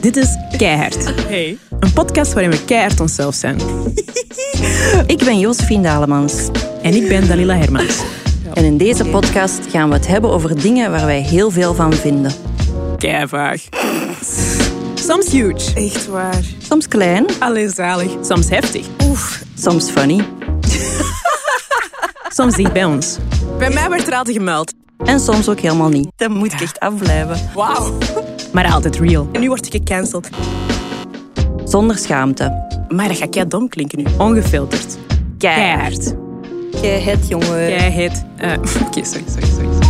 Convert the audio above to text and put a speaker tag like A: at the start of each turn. A: Dit is Keihard.
B: Hey.
A: Een podcast waarin we keihard onszelf zijn.
C: Ik ben Josephine Dalemans.
A: En ik ben Dalila Hermans.
C: En in deze podcast gaan we het hebben over dingen waar wij heel veel van vinden.
A: Keivaag. Soms huge.
B: Echt waar.
C: Soms klein,
B: Allee, zalig.
A: Soms heftig.
B: Oef.
C: soms funny
A: Soms dicht bij ons.
B: Bij mij werd er altijd gemeld.
C: en soms ook helemaal niet. Dan moet ik echt afblijven.
B: Wauw.
A: Maar altijd real.
B: En nu word ik gecanceld.
C: Zonder schaamte.
B: Maar dat ga ik jij dom klinken nu.
A: Ongefilterd. Keihard.
C: Jij het, jongen.
B: Eh,
A: Keihard. Eh, Oké, sorry, sorry, sorry.